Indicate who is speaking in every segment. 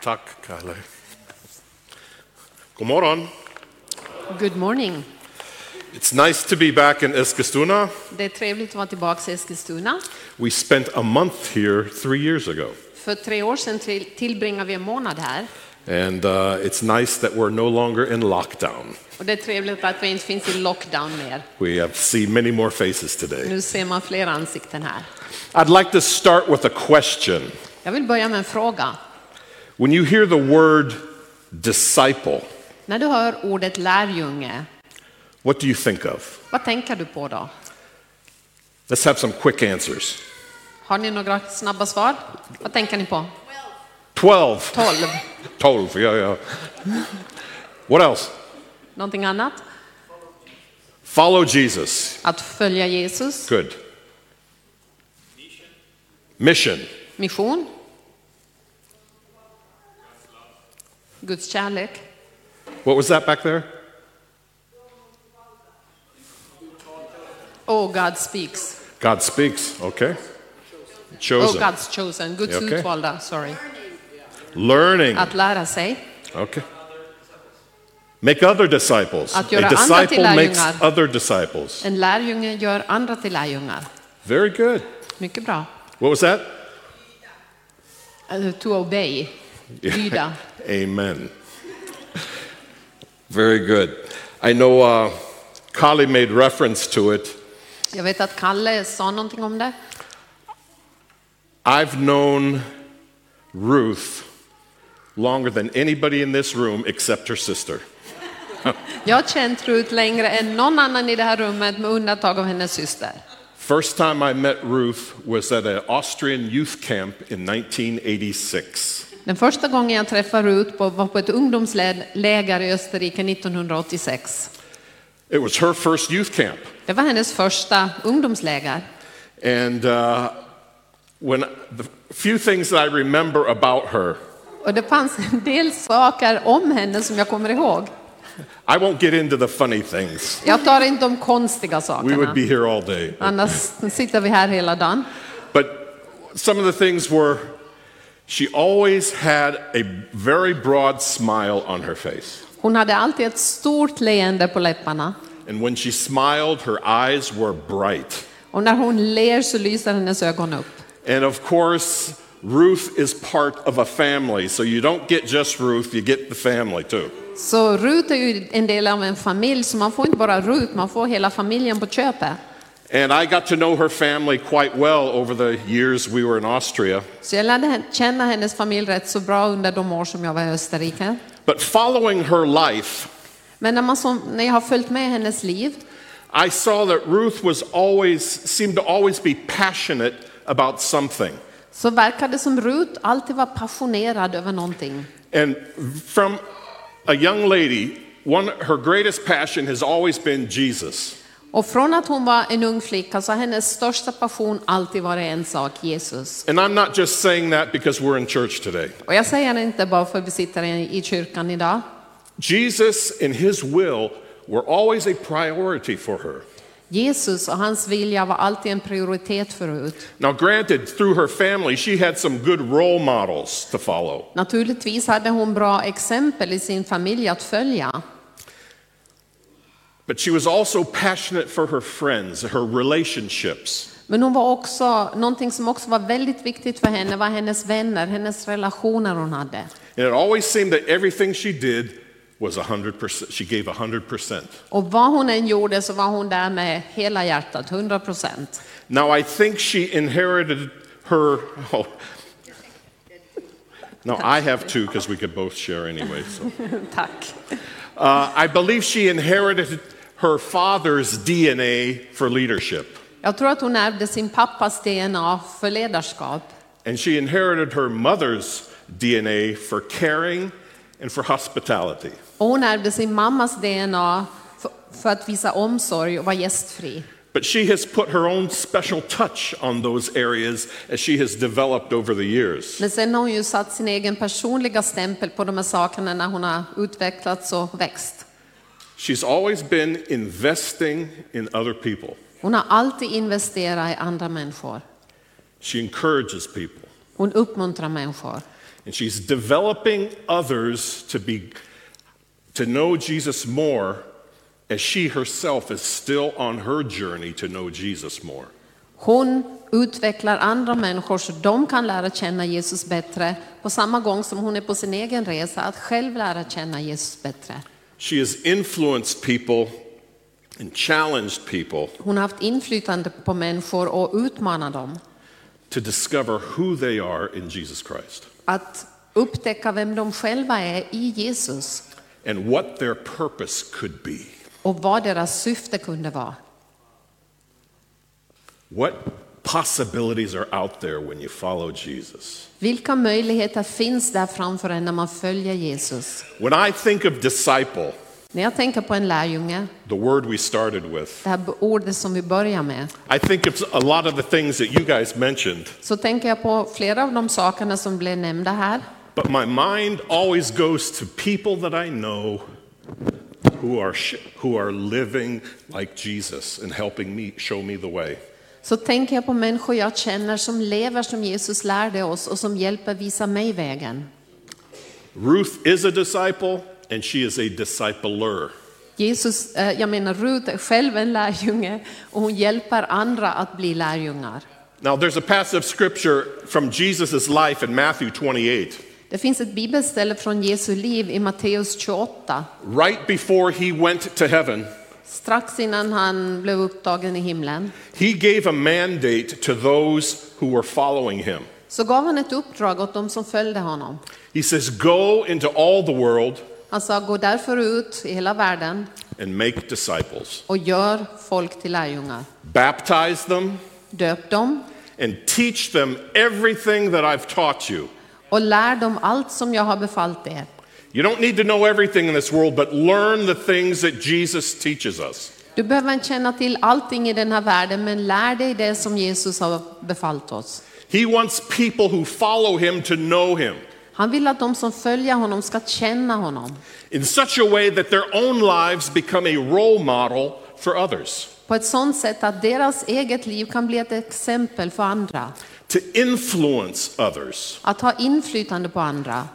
Speaker 1: Tack, Kalle. God morgon.
Speaker 2: Good morning.
Speaker 1: It's nice to be back in Eskilstuna.
Speaker 2: Det är trevligt att vara tillbaka i Eskilstuna.
Speaker 1: We spent a month here three years ago,
Speaker 2: För tre år sedan till- tillbringade vi en månad här.
Speaker 1: and uh, it's nice that we're no longer in lockdown.
Speaker 2: Och det är trevligt att vi inte finns i lockdown mer.
Speaker 1: We have seen many more faces today.
Speaker 2: Nu ser man fler ansikten här.
Speaker 1: I'd like to start with a question.
Speaker 2: Jag vill börja med en fråga.
Speaker 1: When you hear the word disciple,
Speaker 2: När du hör ordet lärjunge,
Speaker 1: what do you think of?
Speaker 2: vad tänker du på då?
Speaker 1: Let's have some quick answers.
Speaker 2: Har ni några snabba svar? Vad tänker ni på?
Speaker 1: 12.
Speaker 2: 12.
Speaker 1: 12, yeah, yeah. What else?
Speaker 2: Någonting annat?
Speaker 1: Follow Jesus.
Speaker 2: Att följa Jesus?
Speaker 1: Good. Mission.
Speaker 2: Mission? Guds kärlek?
Speaker 1: What was that back there?
Speaker 2: Oh, God speaks.
Speaker 1: God speaks. Okay.
Speaker 2: Oh,
Speaker 1: Chosen.
Speaker 2: God's chosen. Guds
Speaker 1: Okej.
Speaker 2: utvalda, sorry.
Speaker 1: Learning.
Speaker 2: Att lära sig.
Speaker 1: Okay. Make other disciples.
Speaker 2: Att göra
Speaker 1: A
Speaker 2: andra
Speaker 1: disciple
Speaker 2: till
Speaker 1: makes
Speaker 2: lärjungar.
Speaker 1: other disciples.
Speaker 2: En lärjunge gör andra till lärjungar.
Speaker 1: Very good.
Speaker 2: Mycket bra.
Speaker 1: What was that?
Speaker 2: Eh, To obey. Lyda.
Speaker 1: Amen. Very good. I know uh, Kali made reference to it.
Speaker 2: Jag vet att Kalle sa någonting om det.
Speaker 1: I've known Ruth longer than anybody in this room except her sister.
Speaker 2: Jag har känt Ruth längre än någon annan i det här rummet med undantag av hennes syster.
Speaker 1: First time I met Ruth was at an Austrian youth camp in 1986.
Speaker 2: Den första gången jag träffade Ruth på- var på ett ungdomsläger i Österrike 1986.
Speaker 1: It was her first youth camp.
Speaker 2: Det var hennes första ungdomsläger.
Speaker 1: And uh, when the few things that I remember about her,
Speaker 2: Och det fanns en del saker om henne som jag kommer ihåg.
Speaker 1: I won't get into the funny things.
Speaker 2: Jag tar inte de konstiga
Speaker 1: We would
Speaker 2: sakerna.
Speaker 1: be here all day.
Speaker 2: Annars sitter vi här hela dagen.
Speaker 1: But some of the things were she always had a very broad smile on her face.
Speaker 2: Hon hade alltid ett stort leende på läpparna.
Speaker 1: And when she smiled, her eyes were bright.
Speaker 2: Och när hon ler så lyser hennes ögon upp.
Speaker 1: And of course, Ruth is part of a family, so you don't get just Ruth, you get the family too.
Speaker 2: Så Ruth är ju en del av en familj, så man får inte bara Ruth, man får hela familjen på köpet.
Speaker 1: And I got to know her family quite well over the years we were in Austria.
Speaker 2: Så jag lärde hen- känna hennes familj rätt så bra under de år som jag var i Österrike.
Speaker 1: But following her life,
Speaker 2: Men när, man som, när jag har följt med hennes liv
Speaker 1: I saw that Ruth was always seemed to always be passionate about something.
Speaker 2: så verkar det som Ruth alltid var passionerad över någonting.
Speaker 1: And from a young lady, one her greatest passion has always been Jesus.
Speaker 2: Och från att hon var en ung flicka så har hennes största passion alltid varit en sak, Jesus.
Speaker 1: And I'm not just saying that because we're in church today.
Speaker 2: Och jag säger det inte bara för att vi sitter i i kyrkan idag.
Speaker 1: Jesus and his will were always a priority for her.
Speaker 2: Jesus och hans vilja var alltid en prioritet för Ruth.
Speaker 1: Now, granted, through her family, she had some good role models to follow.
Speaker 2: Naturligtvis hade hon bra exempel i sin familj att följa.
Speaker 1: But she was also passionate for her friends, her relationships.
Speaker 2: Men hon var också, någonting som också var väldigt viktigt för henne var hennes vänner, hennes relationer hon hade.
Speaker 1: And it always seemed that everything she did was 100%. She gave 100%.
Speaker 2: Och vad hon än gjorde så var hon där med hela hjärtat, 100 procent.
Speaker 1: Now, I think she inherited her. Oh. No, I have two because we could both share anyway. So.
Speaker 2: Tack.
Speaker 1: Uh, I believe she inherited her father's DNA for leadership,
Speaker 2: Jag tror att hon ärvde sin pappas DNA för ledarskap.
Speaker 1: and she inherited her mother's DNA for caring and for hospitality.
Speaker 2: Och hon ärvde sin mammas DNA för, för att visa omsorg och vara gästfri.
Speaker 1: But she has put her own special touch on those areas as she has developed over the years.
Speaker 2: Men sen har hon ju satt sin egen personliga stämpel på de här sakerna när hon har utvecklats och växt.
Speaker 1: She's always been investing in other people,
Speaker 2: Hon har alltid investerat i andra människor.
Speaker 1: she encourages people.
Speaker 2: Hon uppmuntrar människor.
Speaker 1: And she's developing others to be to know Jesus more as she herself is still on her journey to know Jesus more.
Speaker 2: Hon utvecklar andra människor så de kan lära känna Jesus bättre på samma gång som hon är på sin egen resa att själv lära känna Jesus bättre.
Speaker 1: She has influenced people and challenged people
Speaker 2: Hon har haft inflytande på människor och utmanat dem
Speaker 1: to discover who they are in Jesus Christ
Speaker 2: att upptäcka vem de själva är i Jesus
Speaker 1: and what their purpose could be.
Speaker 2: och vad deras syfte kunde vara.
Speaker 1: What possibilities are out there when you follow Jesus?
Speaker 2: Vilka möjligheter finns där framför en när man följer Jesus?
Speaker 1: When I think of disciple,
Speaker 2: När jag tänker på en lärjunge,
Speaker 1: the word we started with,
Speaker 2: det här ordet som vi börjar med,
Speaker 1: I think of a lot of the things that you guys mentioned,
Speaker 2: så tänker jag på flera av de sakerna som blev nämnda här.
Speaker 1: but my mind always goes to people that I know who are, sh- who are living like Jesus and helping me show me the way.
Speaker 2: Så tänker jag på människor jag känner som lever som Jesus lärde oss och som hjälper visa mig vägen.
Speaker 1: Ruth is a disciple and she is a discipler.
Speaker 2: Jesus, eh, jag menar Rut är själv en lärjunge och hon hjälper andra att bli lärjungar.
Speaker 1: Now, there's a passage of scripture from Jesus' life in Matthew 28.
Speaker 2: Det finns ett bibelställe från Jesu liv i Matteus 28,
Speaker 1: Right before he went to heaven,
Speaker 2: strax innan han blev upptagen i himlen.
Speaker 1: he gave a mandate to those who were following him.
Speaker 2: Så gav han ett uppdrag åt dem som följde honom.
Speaker 1: He says, Go into all the world
Speaker 2: Han sa, gå därför ut i hela världen
Speaker 1: and make disciples,
Speaker 2: och gör folk till lärjungar.
Speaker 1: baptize them,
Speaker 2: Döp dem
Speaker 1: and teach them everything that I've taught you.
Speaker 2: och lär dem allt som jag har befallt er.
Speaker 1: You don't need to know everything in this world, but learn the things that Jesus teaches us.
Speaker 2: Du behöver inte känna till allting i den här världen, men lär dig det som Jesus har befallt oss.
Speaker 1: He wants people who follow him to know him
Speaker 2: Han vill att de som följer honom ska känna honom
Speaker 1: in such a way that their own lives become a role model for others,
Speaker 2: på ett sådant sätt att deras eget liv kan bli ett exempel för andra.
Speaker 1: to influence others.
Speaker 2: Att ha inflytande på andra.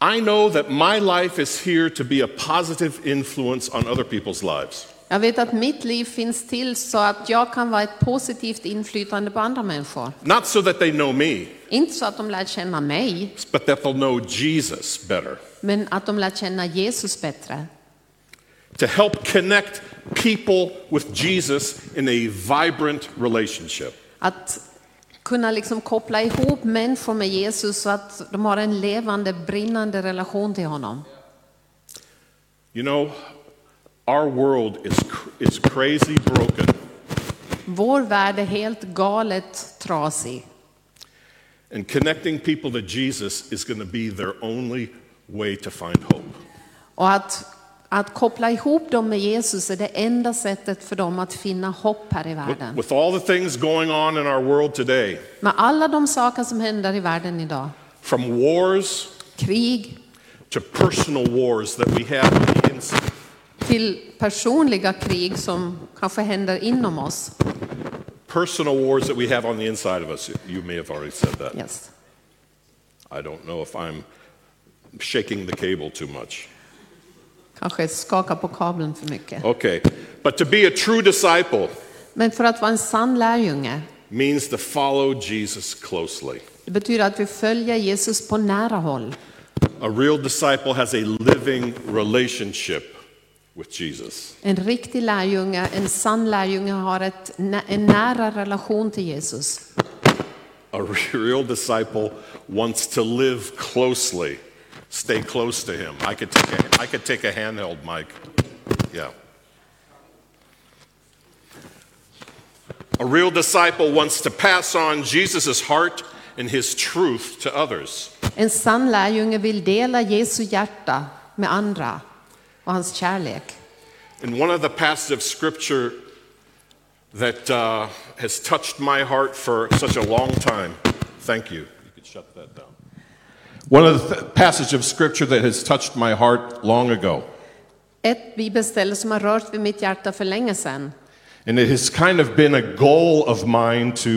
Speaker 1: I know that my life is here to be a positive influence on other people's lives.
Speaker 2: Jag vet att mitt liv finns till så att jag kan vara ett positivt inflytande på andra människor.
Speaker 1: Not so that they know me,
Speaker 2: Inte så att de lär känna mig,
Speaker 1: but that they'll know Jesus better.
Speaker 2: men att de lär känna Jesus bättre.
Speaker 1: To help connect people with Jesus in a vibrant relationship.
Speaker 2: Att kunna liksom koppla ihop människor med Jesus så att de har en levande, brinnande relation till honom.
Speaker 1: You know, our world is, cr- is crazy broken,
Speaker 2: Vår värld är helt galet trasig.
Speaker 1: and connecting people to Jesus is going to be their only way to find hope.
Speaker 2: Och att, att koppla ihop dem med Jesus är det enda sättet för dem att finna hopp här i
Speaker 1: With,
Speaker 2: världen.
Speaker 1: with all the things going on in our world today,
Speaker 2: Med alla de saker som händer i världen idag,
Speaker 1: from wars
Speaker 2: krig,
Speaker 1: to personal wars that we have on the inside.
Speaker 2: till personliga krig som kanske händer inom oss.
Speaker 1: Personal wars that we have on the inside of us. You may have already said that.
Speaker 2: Yes.
Speaker 1: I don't know if I'm shaking the cable too much.
Speaker 2: Kanske skaka på kabeln för mycket.
Speaker 1: Okay. But to be a true disciple
Speaker 2: Men för att vara en sann lärjunge,
Speaker 1: means to follow Jesus closely.
Speaker 2: det betyder att vi följer Jesus på nära håll.
Speaker 1: A real disciple has a living relationship with Jesus.
Speaker 2: En riktig lärjunge, en sann lärjunge har ett, nä- en nära relation till Jesus.
Speaker 1: A real disciple wants to live closely, stay close to him. I could take a, I could take a handheld mic. Yeah. A real disciple wants to pass on Jesus' heart and his truth to others.
Speaker 2: En sann lärjunge vill dela Jesu hjärta med andra och hans kärlek.
Speaker 1: And one of the passages of scripture that uh, has touched my heart for such a long time. Thank you. You could shut that down. One of the th- passage of scripture that has touched my heart long ago,
Speaker 2: Ett bibelställe som har rört vid mitt hjärta för länge sedan
Speaker 1: and it has kind of been a goal of mine to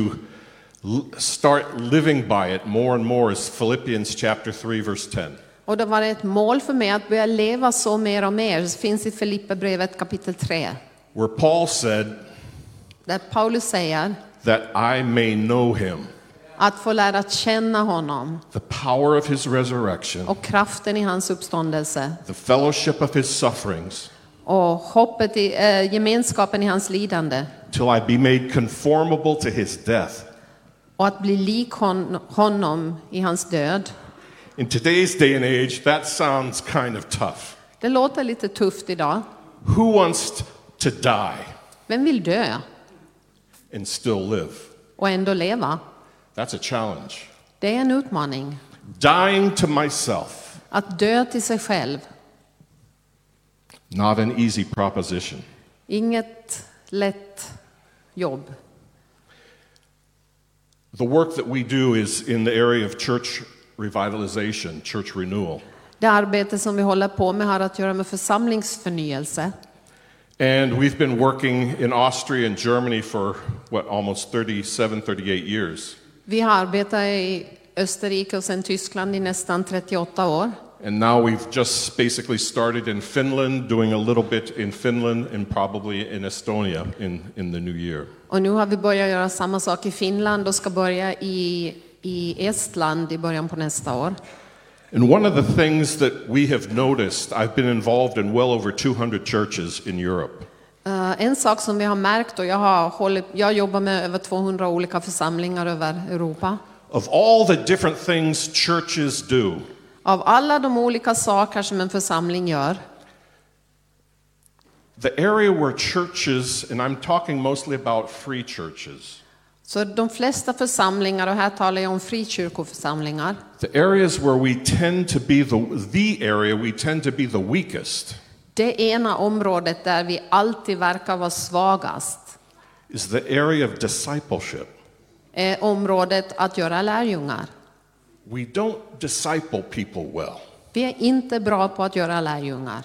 Speaker 1: L- start living by it more and more is Philippians chapter 3 verse 10.
Speaker 2: Och då var det ett mål för mig att börja leva så mer och mer. Det finns i Filipperbrevet kapitel 3.
Speaker 1: Where Paul said
Speaker 2: Där Paulus säger
Speaker 1: that I may know him,
Speaker 2: att få lära känna honom
Speaker 1: the power of his resurrection,
Speaker 2: och kraften i hans uppståndelse
Speaker 1: the fellowship of his sufferings,
Speaker 2: och hoppet i eh, gemenskapen i hans lidande
Speaker 1: till I be made conformable to his death.
Speaker 2: och att bli lik hon, honom i hans död.
Speaker 1: In today's day and age, that sounds kind of tough.
Speaker 2: Det låter lite tufft idag.
Speaker 1: Who wants to die
Speaker 2: Vem vill dö
Speaker 1: and still live?
Speaker 2: och ändå leva?
Speaker 1: That's a challenge.
Speaker 2: Det är en utmaning.
Speaker 1: Dying to myself,
Speaker 2: Att dö till sig själv,
Speaker 1: not an easy proposition.
Speaker 2: inget lätt jobb.
Speaker 1: The work that we do is in the area of church revitalization, church renewal.
Speaker 2: Det arbete som vi håller på med har att göra med församlingsförnyelse.
Speaker 1: And we've been working in Austria and Germany for, what, almost 37, 38 years.
Speaker 2: Vi har arbetat i Österrike och sen Tyskland i nästan 38 år.
Speaker 1: And now we've just basically started in Finland, doing a little bit in Finland and probably in Estonia in, in the new year.
Speaker 2: Och nu har vi börjat göra samma sak i Finland och ska börja i, i Estland i början på nästa år.
Speaker 1: And one of the things that we have noticed, I've been involved in well over 200 churches in Europe.
Speaker 2: Eh, en sak som vi har märkt, och jag, har hållit, jag jobbar med över 200 olika församlingar över Europa.
Speaker 1: Of all the different things churches do,
Speaker 2: Av alla de olika saker som en församling gör,
Speaker 1: the area where churches, and I'm talking mostly about free churches,
Speaker 2: så de flesta församlingar, och här talar jag om frikyrkoförsamlingar,
Speaker 1: the areas where we tend to be the, the area we tend to be the weakest
Speaker 2: det ena området där vi alltid verkar vara svagast
Speaker 1: is the area of discipleship.
Speaker 2: är området att göra lärjungar.
Speaker 1: We don't disciple people well.
Speaker 2: Vi är inte bra på att göra lärjungar.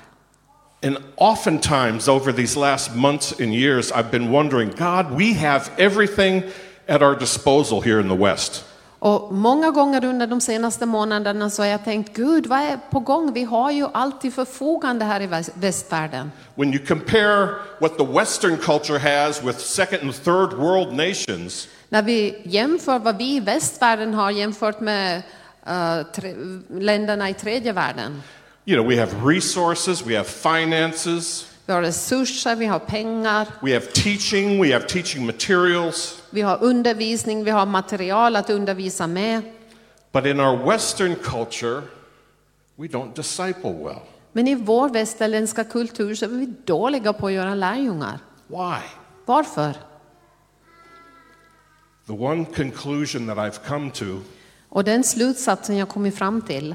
Speaker 1: And oftentimes over these last months and years, I've been wondering God, we have everything at our disposal here in the West.
Speaker 2: Och många gånger under de senaste månaderna så har jag tänkt, Gud vad är på gång? Vi har ju allt till förfogande här i väs- västvärlden.
Speaker 1: When you compare what the Western culture has with second and third world nations,
Speaker 2: När vi jämför vad vi i västvärlden har jämfört med eh, tre, länderna i tredje världen.
Speaker 1: you know, we have resources, we have finances,
Speaker 2: Vi har resurser, vi har pengar,
Speaker 1: we have teaching, we have teaching materials.
Speaker 2: vi har undervisning, vi har material att undervisa med.
Speaker 1: But in our Western culture, we don't disciple well.
Speaker 2: Men i vår västerländska kultur så är vi dåliga på att göra lärjungar.
Speaker 1: Why?
Speaker 2: Varför?
Speaker 1: The one conclusion that I've come to
Speaker 2: Och den slutsatsen jag kommit fram till.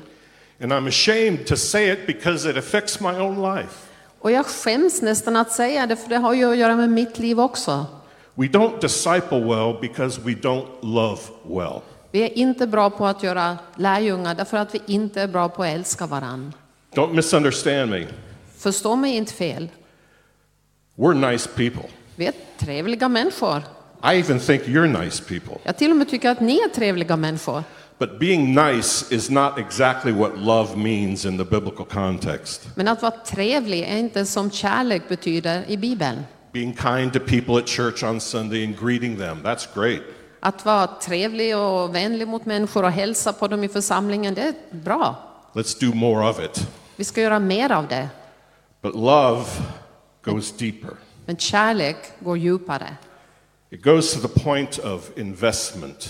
Speaker 1: And I'm ashamed to say it because it affects my own life.
Speaker 2: Och jag skäms nästan att säga det, för det har ju att göra med mitt liv också.
Speaker 1: We don't disciple well because we don't love well.
Speaker 2: Vi är inte bra på att göra lärjungar därför att vi inte är bra på att älska varandra.
Speaker 1: Don't misunderstand me.
Speaker 2: Förstå mig inte fel.
Speaker 1: We're nice people.
Speaker 2: Vi är trevliga människor.
Speaker 1: I even think you're nice people.
Speaker 2: Jag till och med tycker att ni är trevliga människor.
Speaker 1: But being nice is not exactly what love means in the biblical context.
Speaker 2: Men att vara trevlig är inte som kärlek betyder i Bibeln.
Speaker 1: Being kind to people at church on Sunday and greeting them, that's great.
Speaker 2: Att vara trevlig och vänlig mot människor och hälsa på dem i församlingen, det är bra.
Speaker 1: Let's do more of it.
Speaker 2: Vi ska göra mer av det.
Speaker 1: But love goes deeper,
Speaker 2: Men kärlek går djupare.
Speaker 1: it goes to the point of investment,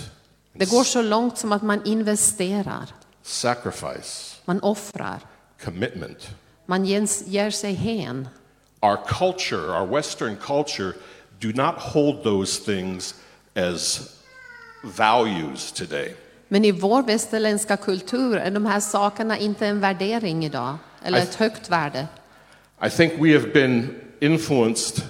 Speaker 2: Det går så långt som att man investerar,
Speaker 1: sacrifice.
Speaker 2: man offrar,
Speaker 1: commitment.
Speaker 2: man ges- ger sig hän.
Speaker 1: Our culture, our Western culture, do not hold those things as values today.
Speaker 2: Men i vår västerländska kultur är de här sakerna inte en värdering idag, eller
Speaker 1: I-
Speaker 2: ett högt värde.
Speaker 1: I think we have been influenced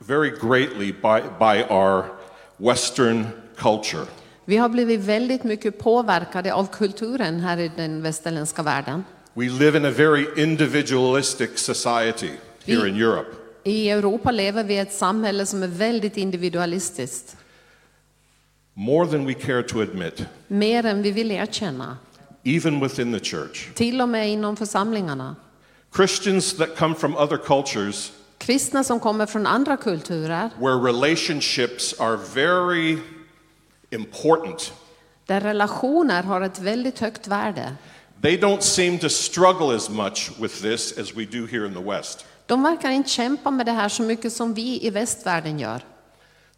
Speaker 1: very greatly by, by our Western culture.
Speaker 2: Vi har blivit väldigt mycket påverkade av kulturen här i den västerländska världen.
Speaker 1: We live in a very individualistic society here
Speaker 2: We-
Speaker 1: in Europe.
Speaker 2: I Europa lever vi i ett samhälle som är väldigt individualistiskt.
Speaker 1: more than we care to admit,
Speaker 2: mer än vi vill erkänna,
Speaker 1: even within the church.
Speaker 2: till och med inom församlingarna.
Speaker 1: Christians that come from other cultures
Speaker 2: Kristna som kommer från andra kulturer,
Speaker 1: where relationships are very important,
Speaker 2: där relationer har ett väldigt högt värde,
Speaker 1: they don't seem to struggle as much with this as we do here in the West.
Speaker 2: de verkar inte kämpa med det här så mycket som vi i västvärlden gör.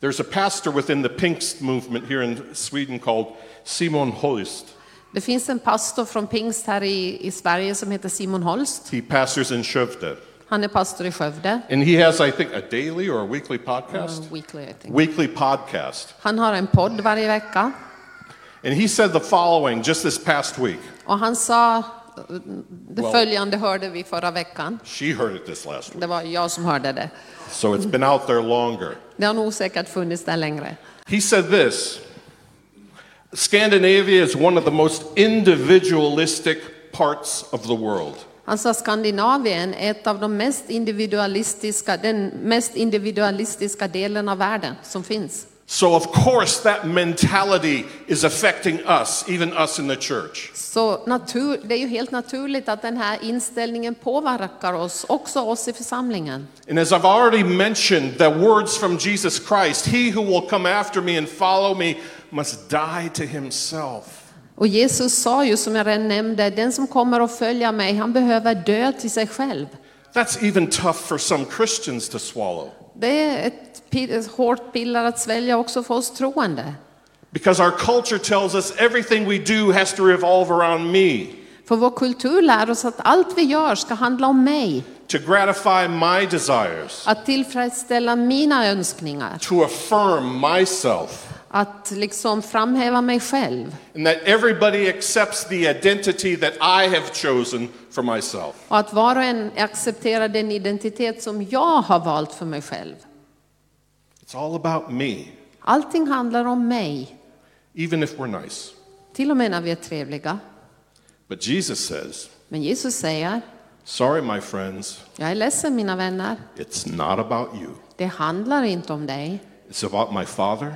Speaker 1: There's a pastor within the Pinkst movement here in Sweden called Simon Holst.
Speaker 2: Det finns en pastor från pingst här i, i Sverige som heter Simon Holst.
Speaker 1: He pastors in Skövde.
Speaker 2: Han är pastor i Skövde.
Speaker 1: And he has, I think, a daily or a weekly podcast?
Speaker 2: Uh, weekly, I think.
Speaker 1: Weekly podcast.
Speaker 2: Han har en podd varje vecka.
Speaker 1: And he said the following just this past week.
Speaker 2: Och han sa, eh, det
Speaker 1: Wow.
Speaker 2: följande hörde vi förra veckan.
Speaker 1: She heard it this last week,
Speaker 2: Det var jag som hörde det.
Speaker 1: so it's been out there longer.
Speaker 2: Det har nog säkert funnits där längre.
Speaker 1: He said this Scandinavia is one of the most individualistic parts of the world.
Speaker 2: Han sa Skandinavien är ett av de mest individualistiska, den mest individualistiska delen av världen som finns.
Speaker 1: So, of course, that mentality is affecting us, even us in the church.
Speaker 2: Så natur, det är ju helt naturligt att den här inställningen påverkar oss, också oss i församlingen.
Speaker 1: And as I've already mentioned, the words from Jesus Christ He who will come after me and follow me must die to himself.
Speaker 2: Och Jesus sa ju som jag redan nämnde, den som kommer att följa mig, han behöver dö till sig själv.
Speaker 1: That's even tough for some Christians to swallow
Speaker 2: Det är ett, pi- ett hårt piller att svälja också för oss troende.
Speaker 1: because our culture tells us everything we do has to revolve around me.
Speaker 2: För vår kultur lär oss att allt vi gör ska handla om mig,
Speaker 1: to gratify my desires,
Speaker 2: att tillfredsställa mina önskningar.
Speaker 1: to affirm myself,
Speaker 2: att liksom framhäva mig själv
Speaker 1: and that everybody accepts the identity that I have chosen for myself.
Speaker 2: och att var och en accepterar den identitet som jag har valt för mig själv.
Speaker 1: It's all about me,
Speaker 2: Allting handlar om mig,
Speaker 1: even if we're nice.
Speaker 2: till och med när vi är trevliga.
Speaker 1: But Jesus says,
Speaker 2: Men Jesus säger,
Speaker 1: Sorry, my friends,
Speaker 2: jag är ledsen mina vänner,
Speaker 1: it's not about you.
Speaker 2: det handlar inte om dig.
Speaker 1: It's about my Father,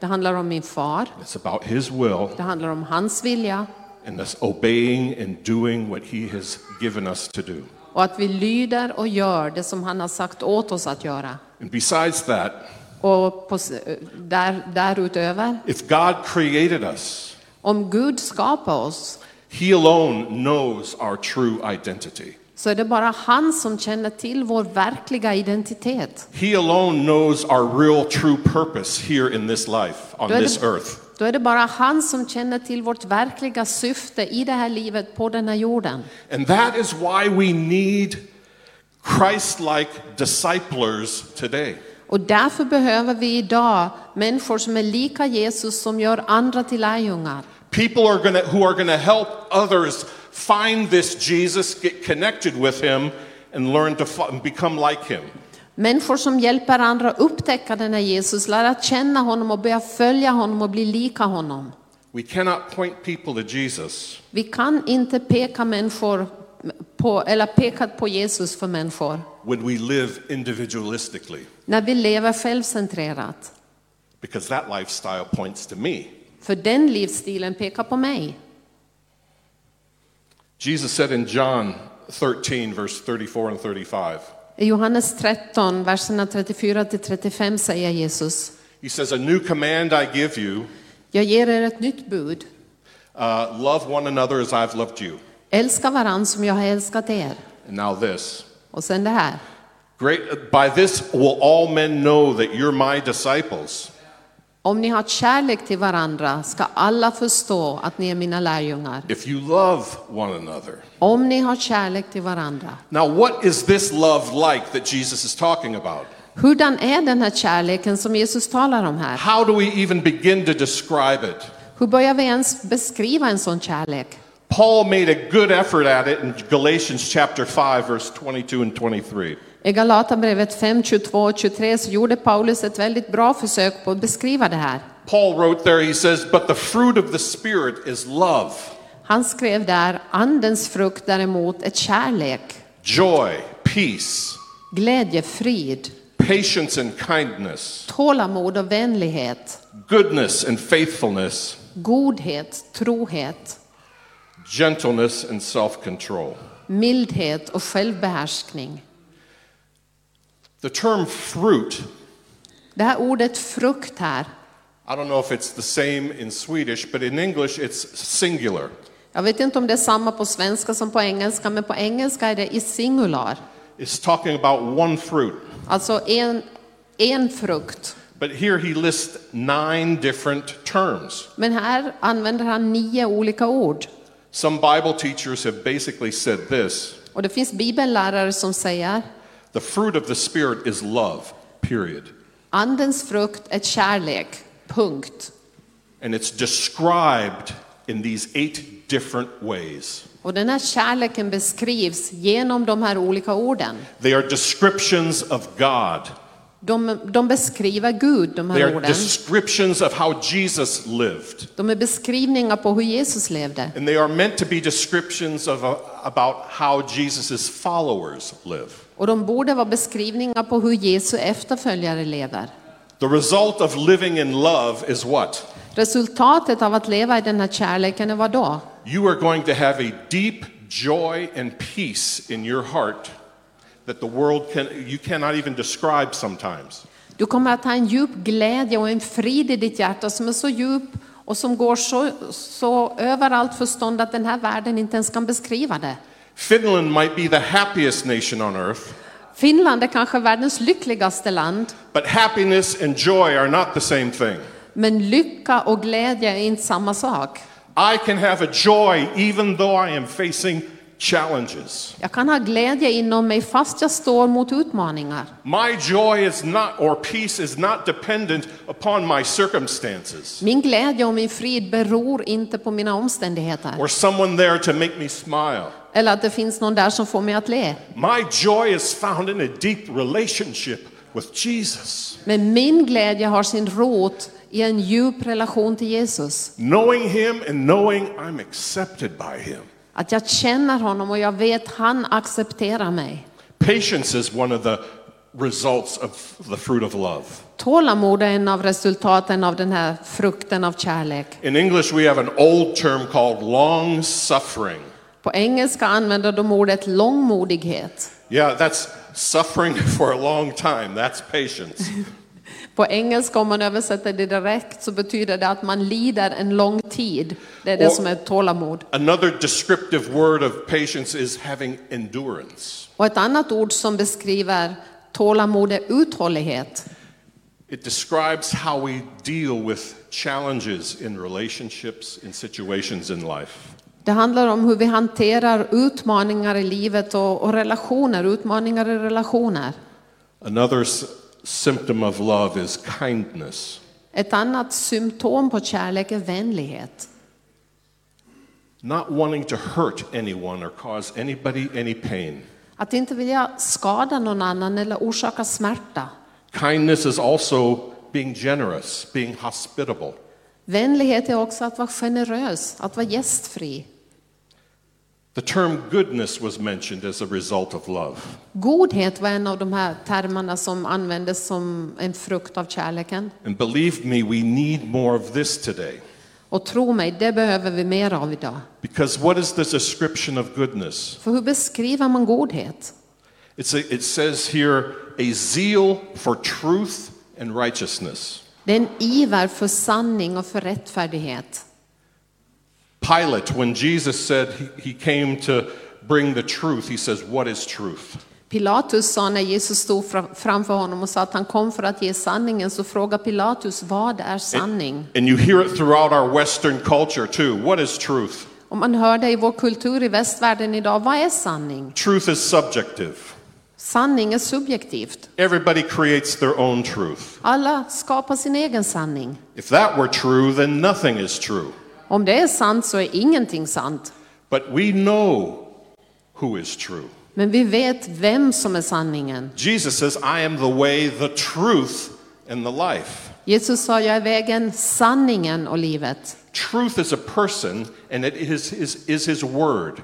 Speaker 2: Det handlar om min far,
Speaker 1: it's about His will,
Speaker 2: det handlar om hans vilja
Speaker 1: and us obeying and doing what He has given us to do.
Speaker 2: och att vi lyder och gör det som han har sagt åt oss att göra.
Speaker 1: And besides that,
Speaker 2: Och på, s- eh, där, därutöver,
Speaker 1: if God created us,
Speaker 2: om Gud skapar oss
Speaker 1: He alone knows our true identity.
Speaker 2: så är det bara han som känner till vår verkliga identitet.
Speaker 1: He alone knows our real true purpose here in this life, on
Speaker 2: Då är,
Speaker 1: this
Speaker 2: det,
Speaker 1: earth.
Speaker 2: då är det bara han som känner till vårt verkliga syfte i det här livet på den här jorden.
Speaker 1: And that is why we need Christ like disciplers today.
Speaker 2: Och därför behöver vi idag människor som är lika Jesus som gör andra till lärjungar.
Speaker 1: People are gonna, who are going to help others find this Jesus, get connected with him, and learn to fo- and become like him.
Speaker 2: Människor som hjälper andra upptäcka den här Jesus, lära känna honom och börja följa honom och bli lika honom.
Speaker 1: We cannot point people to Jesus
Speaker 2: Vi kan inte peka människor på, eller peka på Jesus för människor
Speaker 1: when we live individualistically,
Speaker 2: när vi lever självcentrerat.
Speaker 1: because that lifestyle points to me.
Speaker 2: För den livsstilen pekar på mig.
Speaker 1: Jesus said in John 13, verse 34 and 35.
Speaker 2: I Johannes 13, verserna 34 till 35 säger Jesus.
Speaker 1: He says, A new command I give you
Speaker 2: Jag ger er ett nytt bud.
Speaker 1: uh, love one another as I've loved you.
Speaker 2: Älska varann som jag har älskat er.
Speaker 1: And now this.
Speaker 2: Och sen det här.
Speaker 1: Great, uh, by this will all men know that you're my disciples,
Speaker 2: Om ni har kärlek till varandra ska alla förstå att ni är mina lärjungar.
Speaker 1: if you love one another.
Speaker 2: Om ni har kärlek till varandra.
Speaker 1: Now, what is this love like that Jesus is talking about?
Speaker 2: Hurdan är den här kärleken som Jesus talar om här?
Speaker 1: How do we even begin to describe it?
Speaker 2: Hur börjar vi ens beskriva en sån kärlek?
Speaker 1: Paul made a good effort at it in Galatians chapter 5, verse 22 and 23.
Speaker 2: I Galaterbrevet 5, 22 och 23 så gjorde Paulus ett väldigt bra försök på att beskriva det här.
Speaker 1: Paul wrote there, he says, But the fruit of the Spirit is love,
Speaker 2: Han skrev där, andens frukt däremot är kärlek,
Speaker 1: joy, peace,
Speaker 2: glädje, frid,
Speaker 1: patience and kindness,
Speaker 2: tålamod och vänlighet,
Speaker 1: goodness and faithfulness,
Speaker 2: godhet, trohet,
Speaker 1: gentleness and self control.
Speaker 2: mildhet och självbehärskning.
Speaker 1: The term fruit,
Speaker 2: Det här ordet frukt här,
Speaker 1: I don't know if it's the same in Swedish, but in English it's singular.
Speaker 2: jag vet inte om det är samma på svenska som på engelska, men på engelska är det i singular.
Speaker 1: It's talking about one fruit.
Speaker 2: Alltså en, en frukt.
Speaker 1: But here he lists nine different terms.
Speaker 2: Men här använder han nio olika ord.
Speaker 1: Some Bible teachers have basically said this
Speaker 2: Och det finns bibellärare som säger
Speaker 1: the fruit of the Spirit is love, period.
Speaker 2: andens frukt är kärlek, punkt.
Speaker 1: And it's described in these eight different ways.
Speaker 2: Och den här kärleken beskrivs genom de här olika orden.
Speaker 1: They are descriptions of God,
Speaker 2: De, de beskriver Gud, de
Speaker 1: they
Speaker 2: här
Speaker 1: are
Speaker 2: orden.
Speaker 1: descriptions of how Jesus lived.
Speaker 2: De är beskrivningar på hur Jesus levde.
Speaker 1: And they are meant to be descriptions of, uh, about how Jesus' followers live.
Speaker 2: Och de borde vara beskrivningar på hur Jesu efterföljare lever.
Speaker 1: The result of living in love is what?
Speaker 2: Resultatet av att leva i den här kärleken är vad då?
Speaker 1: You are going to have a deep joy and peace in your heart that the world can you cannot even describe sometimes.
Speaker 2: Du kommer att ha en djup glädje och en frid i ditt hjärta som är så djup och som går så, så över allt förstånd att den här världen inte ens kan beskriva det.
Speaker 1: Finland might be the happiest nation on earth,
Speaker 2: Finland är kanske världens lyckligaste land,
Speaker 1: but happiness and joy are not the same thing.
Speaker 2: men lycka och glädje är inte samma sak.
Speaker 1: I can have a joy even though I am facing challenges.
Speaker 2: Jag kan ha glädje inom mig fast jag står mot utmaningar.
Speaker 1: My joy is not, or peace is not dependent upon my circumstances
Speaker 2: Min glädje och min frid beror inte på mina omständigheter
Speaker 1: or someone there to make me smile.
Speaker 2: eller att det finns någon där som får mig att le.
Speaker 1: My joy is found in a deep relationship with Jesus.
Speaker 2: Men min glädje har sin rot i en djup relation till Jesus.
Speaker 1: Knowing Him and knowing I'm accepted by Him.
Speaker 2: Att jag känner honom och jag vet han accepterar mig.
Speaker 1: Patience is one of the results of the fruit of love.
Speaker 2: Tålamod är en av resultaten av den här frukten av kärlek.
Speaker 1: In English, we have an old term called long suffering.
Speaker 2: På engelska använder de ordet långmodighet.
Speaker 1: Yeah, that's suffering for a long time. That's patience.
Speaker 2: På engelska, om man översätter det direkt, så betyder det att man lider en lång tid. Det är det
Speaker 1: Och-
Speaker 2: som är tålamod.
Speaker 1: Another descriptive word of patience is having endurance.
Speaker 2: Och ett annat ord som beskriver tålamod är uthållighet.
Speaker 1: It describes how we deal with challenges in relationships, in situations in life.
Speaker 2: Det handlar om hur vi hanterar utmaningar i livet och, och relationer, utmaningar i relationer.
Speaker 1: Another s- symptom of love is kindness.
Speaker 2: Ett annat symptom på kärlek är vänlighet.
Speaker 1: Not wanting to hurt anyone or cause anybody any pain.
Speaker 2: Att inte vilja skada någon annan eller orsaka smärta.
Speaker 1: Kindness is also being generous, being hospitable.
Speaker 2: Vänlighet är också att vara generös, att vara gästfri.
Speaker 1: The term goodness was mentioned as a result of love.
Speaker 2: Godhet var en av de här termerna som användes som en frukt av kärleken.
Speaker 1: And believe me, we need more of this today.
Speaker 2: Och tro mig, det behöver vi mer av idag.
Speaker 1: Because what is the description of goodness?
Speaker 2: För hur beskriver man godhet?
Speaker 1: It's a, it says here a zeal for truth and righteousness.
Speaker 2: Det är en iver för sanning och för rättfärdighet.
Speaker 1: Pilate, when Jesus said he, he came to bring the truth, he says, What is truth?
Speaker 2: Pilatus sa när Jesus stod fra- framför honom och sa att han kom för att ge sanningen, så frågade Pilatus vad är sanning?
Speaker 1: And you hear it throughout our Western culture too. What is truth?
Speaker 2: Och man hör det i vår kultur i västvärlden idag, vad är sanning?
Speaker 1: Truth is subjective.
Speaker 2: Sanning är subjektivt.
Speaker 1: Everybody creates their own truth.
Speaker 2: Alla skapar sin egen sanning.
Speaker 1: If that were true, then nothing is true.
Speaker 2: Om det är sant så är ingenting sant.
Speaker 1: But we know who is true.
Speaker 2: Men vi vet vem som är sanningen.
Speaker 1: Jesus says, I am the way, the truth, and the life.
Speaker 2: Jesus sa, jag är vägen, sanningen och livet.
Speaker 1: Truth is a person, and it is, is, is his word.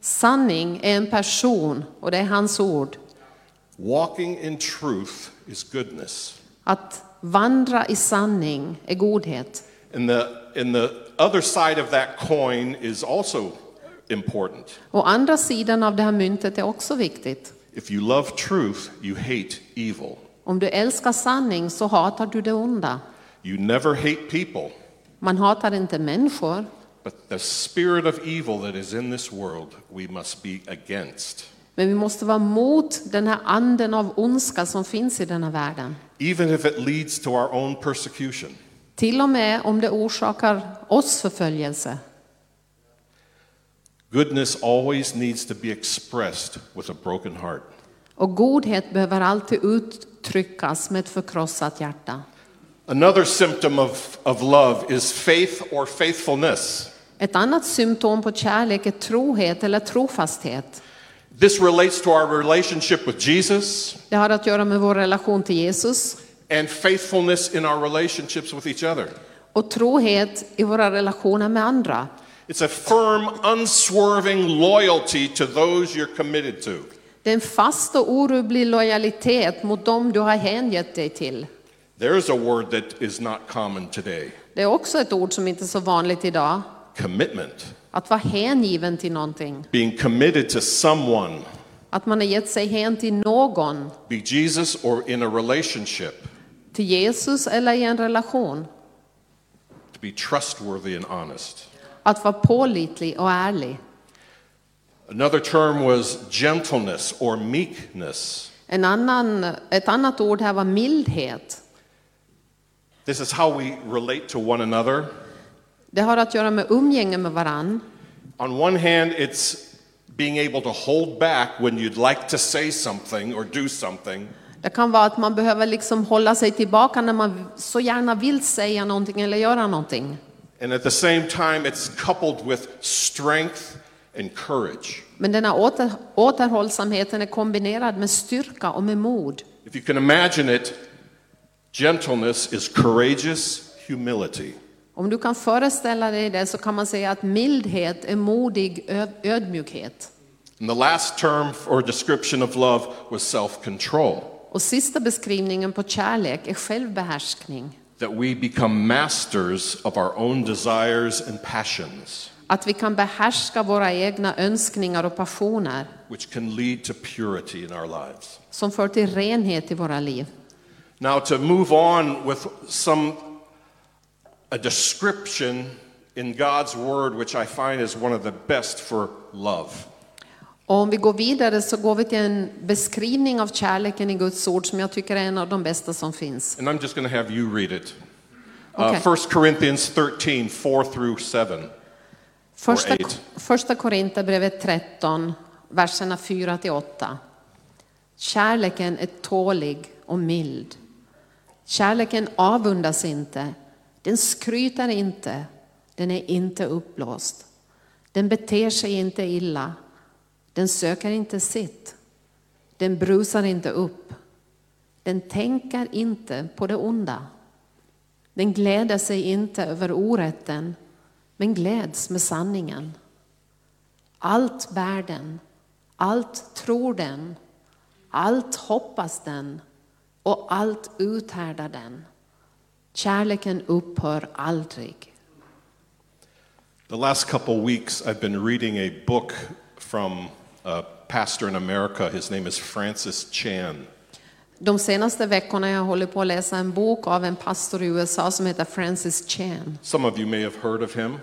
Speaker 2: Sanning är en person och det är hans ord.
Speaker 1: Walking in truth is goodness.
Speaker 2: Att vandra i sanning är godhet.
Speaker 1: And the, and the other side of that coin is also important.
Speaker 2: Å andra sidan av det här myntet är också viktigt.
Speaker 1: If you love truth, you hate evil.
Speaker 2: Om du älskar sanning så hatar du det onda.
Speaker 1: You never hate people,
Speaker 2: Man hatar inte människor,
Speaker 1: but the spirit of evil that is in this world we must be against.
Speaker 2: men vi måste vara mot den här anden av ondska som finns i den här världen.
Speaker 1: Even if it leads to our own persecution.
Speaker 2: Till och med om det orsakar oss förföljelse.
Speaker 1: Goodness always needs to be expressed with a broken heart.
Speaker 2: Och godhet behöver alltid uttryckas med ett förkrossat hjärta.
Speaker 1: Another symptom of, of love is faith or faithfulness.
Speaker 2: Ett annat symptom på kärlek är trohet eller trofasthet.
Speaker 1: This relates to our relationship with Jesus
Speaker 2: Det har att göra med vår relation till Jesus
Speaker 1: and faithfulness in our relationships with each other.
Speaker 2: och trohet i våra relationer med andra.
Speaker 1: It's a firm, unswerving loyalty to those you're committed to.
Speaker 2: Det är en fast och orubblig lojalitet mot dem du har hängett dig till.
Speaker 1: There's a word that is not common today
Speaker 2: Det är också ett ord som inte är så vanligt idag.
Speaker 1: commitment.
Speaker 2: Att vara hängiven till någonting.
Speaker 1: Being committed to someone,
Speaker 2: Att man har gett sig hän till någon.
Speaker 1: be Jesus or in a relationship,
Speaker 2: Till Jesus eller i en relation.
Speaker 1: to be trustworthy and honest.
Speaker 2: Att vara pålitlig och ärlig.
Speaker 1: Another term was gentleness or meekness.
Speaker 2: En annan, ett annat ord här var mildhet.
Speaker 1: This is how we relate to one another.
Speaker 2: Det har att göra med umgänge med varann.
Speaker 1: On one hand, it's being able to hold back when you'd like to say something or do something,
Speaker 2: Det kan vara att man behöver liksom hålla sig tillbaka när man så gärna vill säga någonting eller göra någonting.
Speaker 1: and at the same time, it's coupled with strength and courage.
Speaker 2: Men denna åter, återhållsamheten är kombinerad med styrka och med mod.
Speaker 1: If you can imagine it, gentleness is courageous humility.
Speaker 2: Om du kan föreställa dig det så kan man säga att mildhet är modig ö- ödmjukhet.
Speaker 1: And the last term or description of love was self control.
Speaker 2: Och sista beskrivningen på kärlek är självbehärskning.
Speaker 1: that we become masters of our own desires and passions,
Speaker 2: Att vi kan behärska våra egna önskningar och passioner
Speaker 1: which can lead to purity in our lives.
Speaker 2: som för till renhet i våra liv.
Speaker 1: Now, to move on with some a description in God's word, which I find is one of the best for love.
Speaker 2: Och om vi går vidare så går vi till en beskrivning av kärleken i Guds ord som jag tycker är en av de bästa som finns.
Speaker 1: And I'm just going to have you read it.
Speaker 2: Okay.
Speaker 1: Uh, 1 Corinthians 13, 4 through 7.
Speaker 2: Första,
Speaker 1: Or eight.
Speaker 2: första Korinthierbrevet 13, verserna 4 till 8. Kärleken är tålig och mild. Kärleken avundas inte. Den skryter inte. Den är inte uppblåst. Den beter sig inte illa. Den söker inte sitt. Den brusar inte upp. Den tänker inte på det onda. Den gläder sig inte över orätten, men gläds med sanningen. Allt bär den, allt tror den, allt hoppas den och allt uthärdar den. Kärleken upphör aldrig.
Speaker 1: The last couple weeks, I've been reading a book from a pastor in America. His name is Francis Chan.
Speaker 2: De senaste veckorna jag håller på att läsa en bok av en pastor i USA som heter Francis Chan.
Speaker 1: Some of you may have heard of him.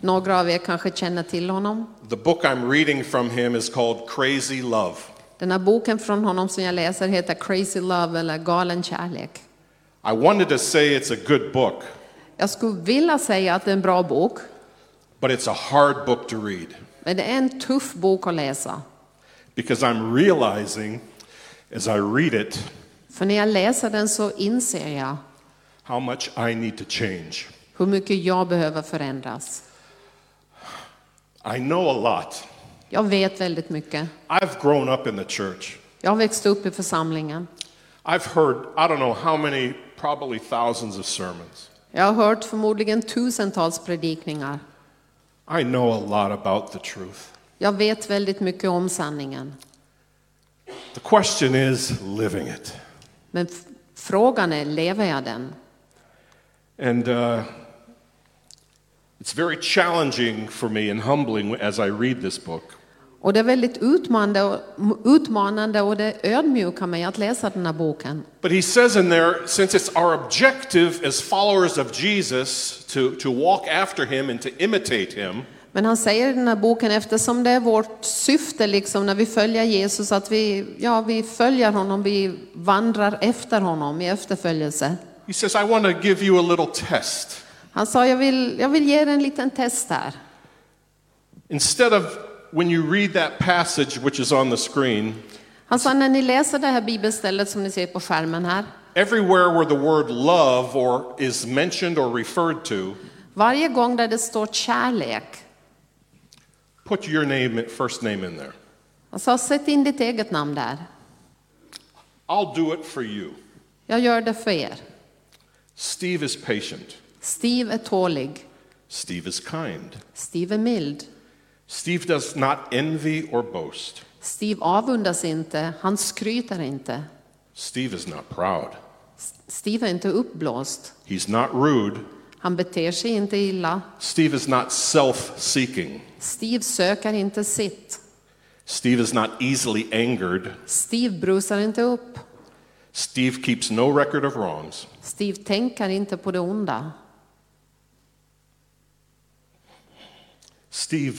Speaker 2: Några av er kanske känner till honom.
Speaker 1: The book I'm reading from him is called Crazy Love.
Speaker 2: Den här boken från honom som jag läser heter Crazy Love eller Galen Kärlek.
Speaker 1: I wanted to say it's a good book,
Speaker 2: Jag skulle vilja säga att det är en bra bok,
Speaker 1: but it's a hard book to read
Speaker 2: men det är en tuff bok att läsa.
Speaker 1: because I'm realizing as I read it
Speaker 2: För när jag läser den så inser jag
Speaker 1: how much I need to change.
Speaker 2: hur mycket jag behöver förändras.
Speaker 1: I know a lot.
Speaker 2: Jag vet väldigt mycket.
Speaker 1: I've grown up in the church.
Speaker 2: Jag har växt upp i församlingen.
Speaker 1: I've heard, I don't know how many, probably thousands of sermons.
Speaker 2: Jag har hört förmodligen tusentals predikningar.
Speaker 1: I know a lot about the truth.
Speaker 2: Jag vet väldigt mycket om sanningen.
Speaker 1: The question is living it.
Speaker 2: Men f- frågan är, lever jag den?
Speaker 1: And uh, it's very challenging for me and humbling as I read this book
Speaker 2: Och det är väldigt utmanande och, utmanande och det ödmjukar mig att läsa den här boken.
Speaker 1: But he says in there, since it's our objective as followers of Jesus to, to walk after him and to imitate him,
Speaker 2: Men han säger i den här boken, eftersom det är vårt syfte liksom, när vi följer Jesus, att vi, ja, vi följer honom, vi vandrar efter honom i efterföljelse.
Speaker 1: he says, I want to give you a little test.
Speaker 2: Han sa, jag vill, jag vill ge er en liten test här.
Speaker 1: Instead of when you read that passage which is on the screen,
Speaker 2: Han sa, när ni läser det här bibelstället som ni ser på skärmen här,
Speaker 1: everywhere where the word love or is mentioned or referred to,
Speaker 2: varje gång där det står kärlek,
Speaker 1: put your name, first name in there.
Speaker 2: han sa, sätt in ditt eget namn där.
Speaker 1: I'll do it for you.
Speaker 2: Jag gör det för er.
Speaker 1: Steve is patient.
Speaker 2: Steve är tålig.
Speaker 1: Steve is kind.
Speaker 2: Steve är mild.
Speaker 1: Steve does not envy or boast.
Speaker 2: Steve avundas inte, han skryter inte.
Speaker 1: Steve is not proud.
Speaker 2: S- Steve är inte uppblåst.
Speaker 1: He's not rude.
Speaker 2: Han beter sig inte illa.
Speaker 1: Steve is not self seeking.
Speaker 2: Steve söker inte sitt.
Speaker 1: Steve is not easily angered.
Speaker 2: Steve brusar inte upp.
Speaker 1: Steve keeps no record of wrongs.
Speaker 2: Steve tänker inte på det onda.
Speaker 1: Steve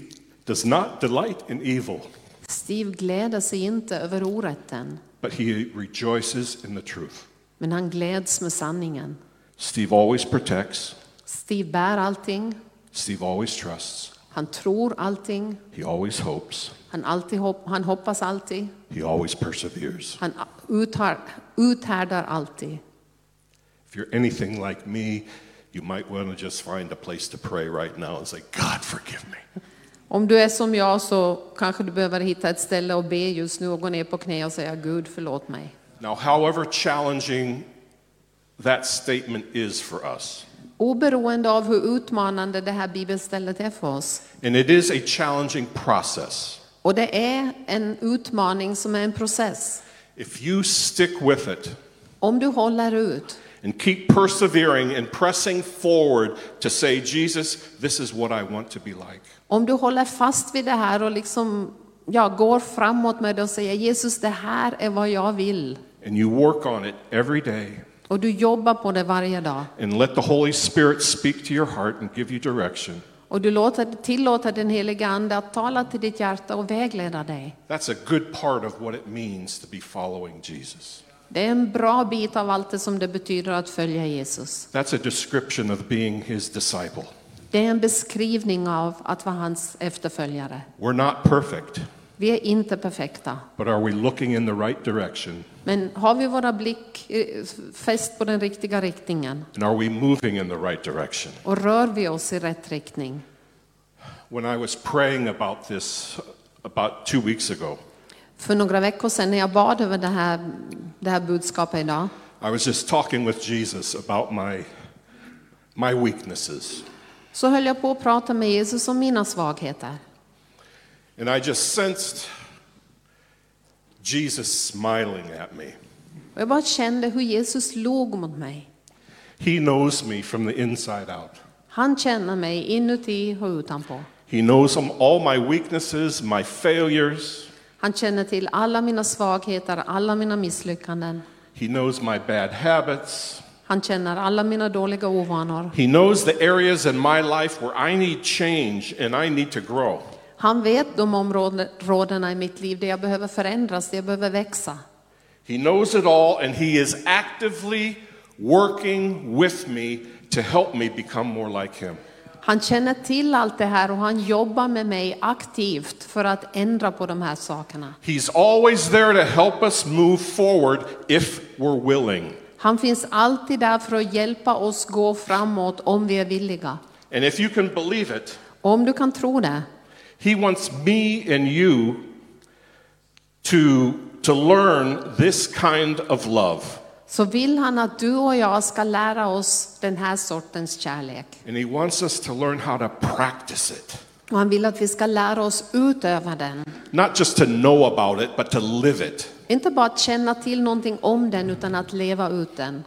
Speaker 1: does not delight in evil,
Speaker 2: Steve gläder sig inte över orätten,
Speaker 1: but he rejoices in the truth.
Speaker 2: men han gläds med sanningen.
Speaker 1: Steve always protects.
Speaker 2: Steve bär allting,
Speaker 1: Steve always trusts.
Speaker 2: han tror allting,
Speaker 1: He always hopes.
Speaker 2: han, alltid hop- han hoppas alltid,
Speaker 1: He always perseveres.
Speaker 2: han uthär- uthärdar alltid.
Speaker 1: If you're anything like me, you might want to just find a place to pray right now and say, God, forgive me.
Speaker 2: Om du är som jag så kanske du behöver hitta ett ställe och be just nu och gå ner på knä och säga Gud förlåt mig.
Speaker 1: Now, however challenging that statement is for us,
Speaker 2: Oberoende av hur utmanande det här bibelstället är för oss.
Speaker 1: and it is a challenging process,
Speaker 2: Och det är en utmaning som är en process.
Speaker 1: if you stick with it
Speaker 2: Om du håller ut
Speaker 1: and keep persevering and pressing forward to say, Jesus, this is what I want to be like,
Speaker 2: Om du håller fast vid det här och liksom, ja, går framåt med det och säger Jesus, det här är vad jag vill.
Speaker 1: and you work on it every day,
Speaker 2: Och du jobbar på det varje dag.
Speaker 1: and let the Holy Spirit speak to your heart and give you direction,
Speaker 2: Och du låter, tillåter den heliga Ande att tala till ditt hjärta och vägleda dig.
Speaker 1: that's a good part of what it means to be following Jesus.
Speaker 2: Det är en bra bit av allt det som det betyder att följa Jesus.
Speaker 1: That's a description of being his disciple.
Speaker 2: Det är en beskrivning av att vara hans efterföljare.
Speaker 1: We're not perfect,
Speaker 2: Vi är inte perfekta,
Speaker 1: but are we looking in the right direction?
Speaker 2: men har vi våra blick eh, fäst på den riktiga riktningen
Speaker 1: And are we moving in the right direction?
Speaker 2: och rör vi oss i rätt riktning?
Speaker 1: When I was praying about this about two weeks ago,
Speaker 2: För några veckor sedan när jag bad över det här, det här budskapet idag
Speaker 1: I was just talking with Jesus about my, my weaknesses.
Speaker 2: så höll jag på att prata med Jesus om mina svagheter.
Speaker 1: And I just sensed Jesus smiling at me.
Speaker 2: Och jag bara kände hur Jesus log mot mig.
Speaker 1: He knows me from the inside out.
Speaker 2: Han känner mig inuti och utanpå.
Speaker 1: He knows all my weaknesses, my failures.
Speaker 2: Han känner till alla mina svagheter, alla mina misslyckanden.
Speaker 1: He knows my bad habits.
Speaker 2: Han känner alla mina dåliga ovanor.
Speaker 1: He knows the areas in my life where I need change and I need to grow.
Speaker 2: Han vet de områden- områdena i mitt liv där jag behöver förändras, där jag behöver växa.
Speaker 1: He knows it all and He is actively working with me to help me become more like Him.
Speaker 2: Han känner till allt det här och han jobbar med mig aktivt för att ändra på de här sakerna.
Speaker 1: He's always there to help us move forward if we're willing.
Speaker 2: Han finns alltid där för att hjälpa oss gå framåt om vi är villiga.
Speaker 1: And if you can believe it,
Speaker 2: Om du kan tro det.
Speaker 1: He wants me and you to, to learn this kind of love.
Speaker 2: så vill han att du och jag ska lära oss den här sortens kärlek.
Speaker 1: And He wants us to learn how to practice it.
Speaker 2: Och han vill att vi ska lära oss utöva den.
Speaker 1: Not just to know about it, but to live it.
Speaker 2: Inte bara att känna till någonting om den utan att leva ut den.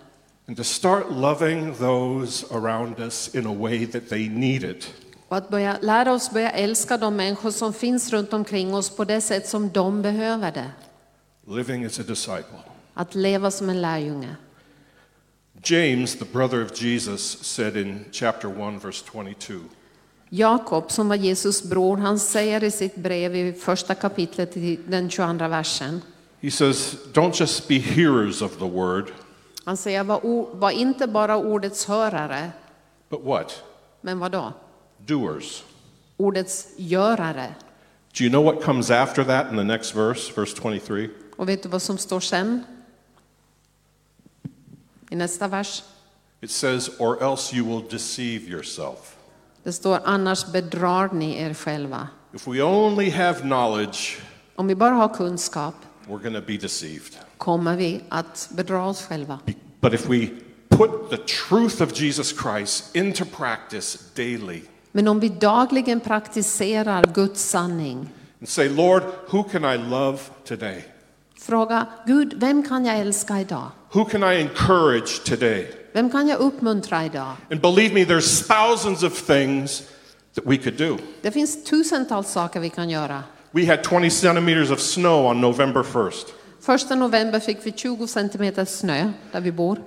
Speaker 1: and to start loving those around us in a way that they need it.
Speaker 2: Och att börja, lära oss börja älska de människor som finns runt omkring oss på det sätt som de behöver det.
Speaker 1: Living as a disciple.
Speaker 2: Att leva som en lärjunge.
Speaker 1: James, the brother of Jesus, said in chapter 1, verse 22
Speaker 2: Jakob, som var Jesus bror, han säger i sitt brev i första kapitlet i den 22 versen.
Speaker 1: He says, Don't just be hearers of the word,
Speaker 2: Han säger, var, o, var inte bara ordets hörare,
Speaker 1: but what?
Speaker 2: men vad då?
Speaker 1: Doers.
Speaker 2: Ordets görare.
Speaker 1: Do you know what comes after that in the next verse, verse 23?
Speaker 2: Och vet du vad som står sen? I nästa vers.
Speaker 1: It says, Or else you will deceive yourself.
Speaker 2: Det står annars bedrar ni er själva.
Speaker 1: If we only have knowledge,
Speaker 2: Om vi bara har kunskap
Speaker 1: we're going to be deceived.
Speaker 2: kommer vi att bedra oss själva.
Speaker 1: Be- But if we put the truth of Jesus Christ into practice daily
Speaker 2: Men om vi dagligen praktiserar Guds sanning,
Speaker 1: and say, Lord, who can I love today?
Speaker 2: fråga Gud, vem kan jag älska idag?
Speaker 1: Who can I encourage today?
Speaker 2: Vem kan jag uppmuntra idag?
Speaker 1: And believe me, there's thousands of things that we could do.
Speaker 2: Det finns tusentals saker vi kan göra.
Speaker 1: We had 20 centimeters of snow on November 1st,
Speaker 2: Första november fick vi 20 centimeter snö där vi bor.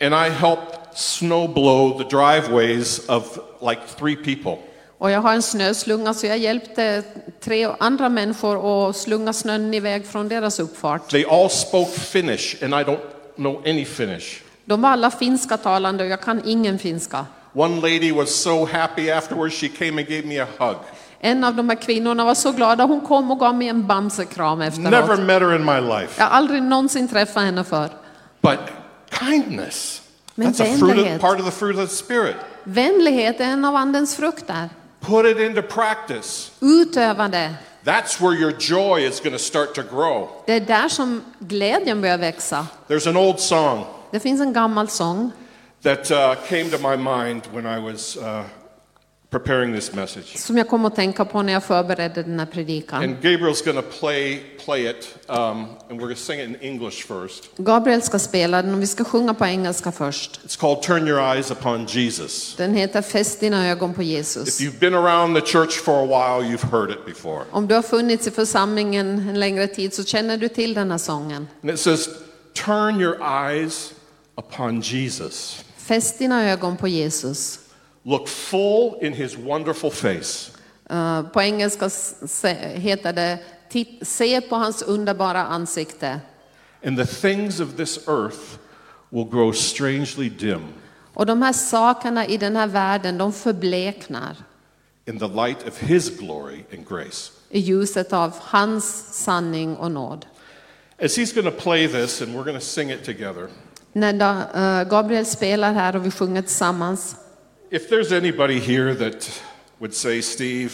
Speaker 1: and I helped snow blow the driveways of like three people.
Speaker 2: Och jag har en snöslunga så jag hjälpte tre andra människor att slunga snön iväg från deras uppfart.
Speaker 1: They all spoke Finnish, and I don't know any Finnish.
Speaker 2: De var alla finska talande och jag kan ingen finska.
Speaker 1: One lady was so happy afterwards, she came and gave me a hug.
Speaker 2: En av de här kvinnorna var så glad att hon kom och gav mig en bamsekram efteråt.
Speaker 1: Never met her in my life.
Speaker 2: Jag har aldrig någonsin träffat henne för.
Speaker 1: But kindness.
Speaker 2: Men
Speaker 1: That's a fruit of,
Speaker 2: vänlighet.
Speaker 1: part of the fruit of the Spirit.
Speaker 2: Vänlighet är en av andens frukter.
Speaker 1: Put it into practice.
Speaker 2: Utöva det.
Speaker 1: That's where your joy is going to start to grow.
Speaker 2: Det är där som glädjen börjar växa.
Speaker 1: There's an old song
Speaker 2: Det finns en gammal sång
Speaker 1: that uh, came to my mind when I was uh, preparing this message.
Speaker 2: som jag kom att tänka på när jag förberedde den här predikan.
Speaker 1: And Gabriel's going to play, play it, um, and we're going to sing it in English first.
Speaker 2: Gabriel ska spela den och vi ska sjunga på engelska först.
Speaker 1: It's called Turn Your Eyes Upon Jesus.
Speaker 2: Den heter Fäst dina ögon på
Speaker 1: If
Speaker 2: Jesus.
Speaker 1: you've been around the church for a while, you've heard it before.
Speaker 2: Om du har funnits i församlingen en längre tid så känner du till den här sången.
Speaker 1: And it says, Turn your eyes upon Jesus.
Speaker 2: Fäst dina ögon på Jesus.
Speaker 1: Look full in his wonderful face.
Speaker 2: Eh, På engelska s- se- heter det "Titt- Se på hans underbara ansikte
Speaker 1: And the things of this earth will grow strangely dim
Speaker 2: och de här sakerna i den här världen de förbleknar
Speaker 1: in the light of his glory and grace.
Speaker 2: i ljuset av hans sanning och nåd.
Speaker 1: As he's going to play this and we're going to sing it together,
Speaker 2: När da- eh, Gabriel spelar här och vi sjunger tillsammans.
Speaker 1: if there's anybody here that would say, Steve,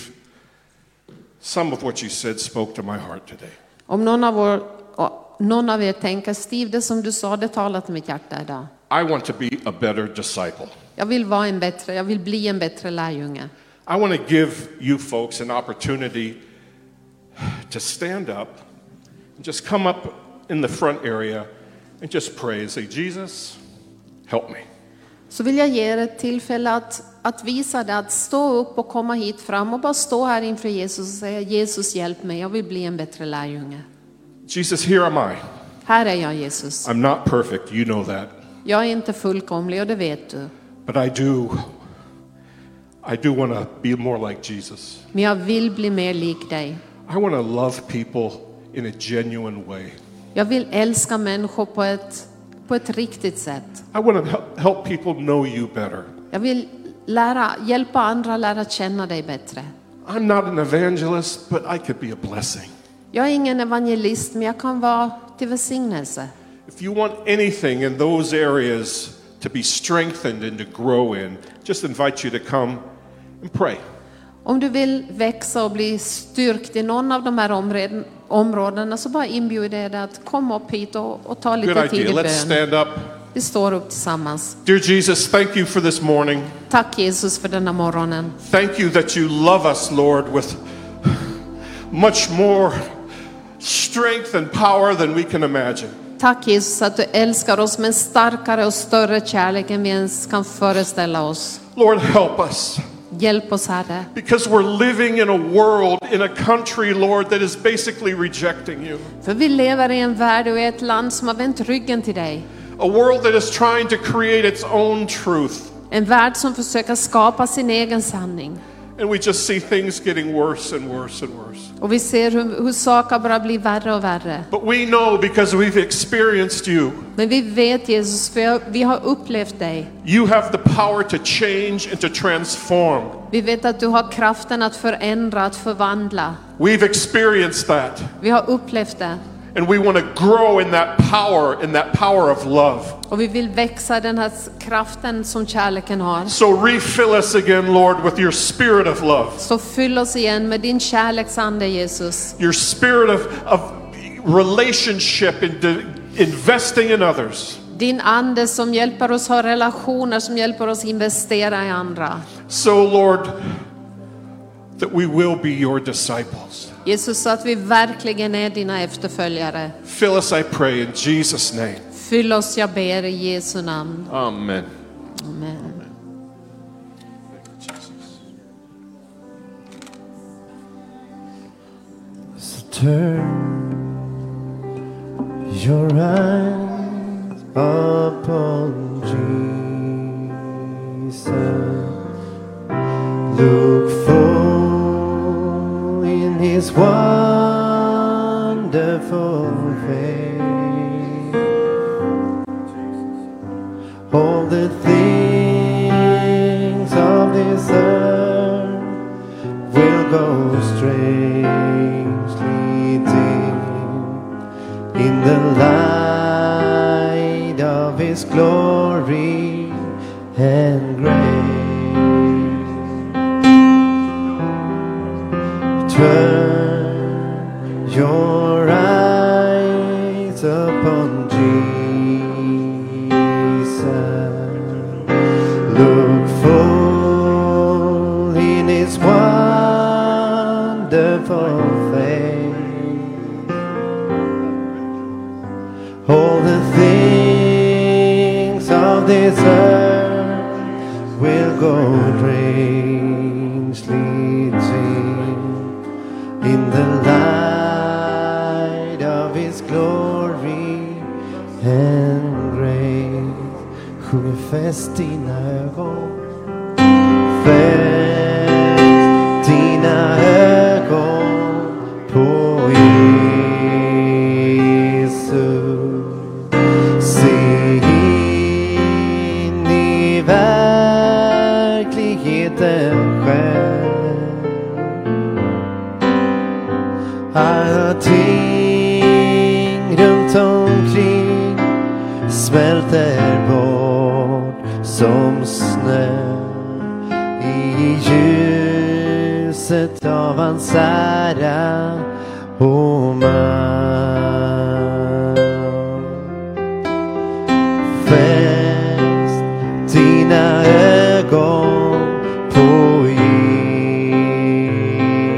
Speaker 1: some of what you said spoke to my heart today,
Speaker 2: Om någon av, vår, och någon av er tänker Steve, det som du sa det talar till mitt hjärta idag.
Speaker 1: I want to be a better disciple.
Speaker 2: Jag vill vara en bättre, jag vill bli en bättre lärjunge.
Speaker 1: I want to give you folks an opportunity to stand up and just come up in the front area and just pray and say, Jesus, help me.
Speaker 2: Så vill jag ge er ett tillfälle att, att visa det, att stå upp och komma hit fram och bara stå här inför Jesus och säga Jesus hjälp mig, jag vill bli en bättre lärjunge.
Speaker 1: Jesus, here am I.
Speaker 2: Här är jag Jesus.
Speaker 1: I'm not perfect, you know that,
Speaker 2: Jag är inte fullkomlig och det vet du.
Speaker 1: but I do. I do want to be more like Jesus.
Speaker 2: Men jag vill bli mer lik dig.
Speaker 1: I want to love people in a genuine way.
Speaker 2: Jag vill älska människor på ett, på ett riktigt sätt.
Speaker 1: I want to help, help people know you better.
Speaker 2: Jag vill lära, hjälpa andra lära känna dig bättre.
Speaker 1: I'm not an evangelist, but I could be a blessing.
Speaker 2: Jag är ingen evangelist men jag kan vara till välsignelse.
Speaker 1: If you want anything in those areas to be strengthened and to grow in, just invite you to come and pray.
Speaker 2: Om du vill växa och bli styrkt i någon av de här omreden- områdena så bara inbjuder jag dig att komma upp hit och, och ta
Speaker 1: Good
Speaker 2: lite tid
Speaker 1: idea.
Speaker 2: i
Speaker 1: Let's
Speaker 2: bön.
Speaker 1: stand up.
Speaker 2: Vi står upp tillsammans.
Speaker 1: Dear Jesus, thank you for this morning.
Speaker 2: Tack Jesus för denna morgonen.
Speaker 1: Thank you that you love us, Lord, with much more s- strength and power than we can imagine.
Speaker 2: Tack Jesus att du älskar oss med en starkare och större kärlek än vi ens kan föreställa oss.
Speaker 1: Lord, help us.
Speaker 2: Hjälp oss Herre.
Speaker 1: Because we're living in a world, in a country, Lord, that is basically rejecting you.
Speaker 2: För vi lever i en värld och i ett land som har vänt ryggen till dig.
Speaker 1: A world that is trying to create its own truth.
Speaker 2: En värld som försöker skapa sin egen sanning.
Speaker 1: And we just see things getting worse and worse and worse.
Speaker 2: Och vi ser hur, hur saker bara blir värre och värre.
Speaker 1: But we know because we've experienced you,
Speaker 2: Men vi vet Jesus, för jag- vi har upplevt dig.
Speaker 1: you have the power to change and to transform.
Speaker 2: Vi vet att du har kraften att förändra, att förvandla.
Speaker 1: We've experienced that.
Speaker 2: Vi har upplevt det.
Speaker 1: And we want to grow in that power, in that power of love.
Speaker 2: Och vi vill växa i den här kraften som kärleken har.
Speaker 1: So refill us again, Lord, with your spirit of love,
Speaker 2: Så fyll oss igen med din kärleksande Jesus.
Speaker 1: your spirit of, of relationship and de- investing in others.
Speaker 2: Din ande som hjälper oss ha relationer, som hjälper oss investera i andra.
Speaker 1: So, Lord, that we will be your disciples.
Speaker 2: Jesus, så att vi verkligen är dina efterföljare.
Speaker 1: Fill us, I pray, in Jesus' name.
Speaker 2: Fyll oss, jag ber, i Jesu namn.
Speaker 1: Amen.
Speaker 2: Amen.
Speaker 3: So turn your eyes upon Jesus. Look full in his wonderful face. All the things of this earth will go strangely dim in the light of His glory and grace. Turn your eyes upon Jesus look full in his wonderful face. All the things of this earth will go strangely dim in the light of his glory and grace. Sjunger fäst dina ögon, fäst dina ögon på Jesus. Se in i verkligheten själv alla ting runt omkring smälter bort som snö i ljuset av hans ära och makt. Fäst dina ögon på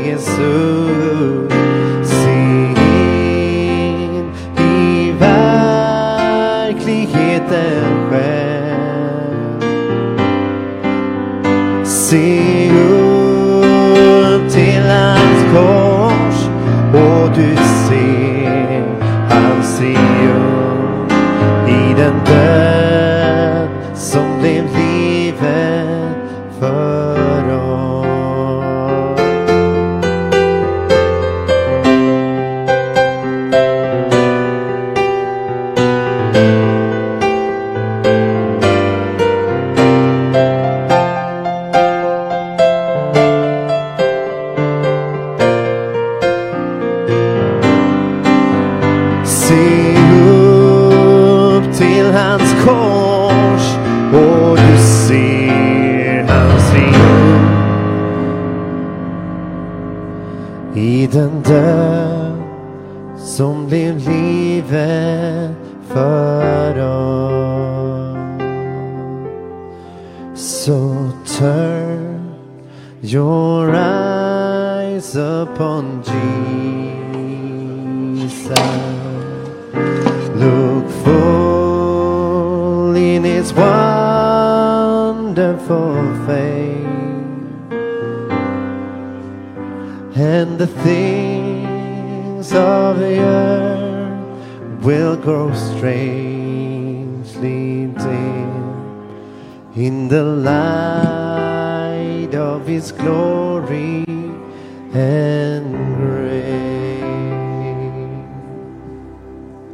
Speaker 3: Jesus. Se in i verkligheten själv. Se upp till hans kors och du ser hans triumf i den död som blev livet för oss. Se upp till hans kors och du ser hans triumf i den död som blev livet för oss. So turn your eyes upon Jesus. sound. Look full in his wonderful fame. And the things of the earth will grow strangely dim in the light of his glory and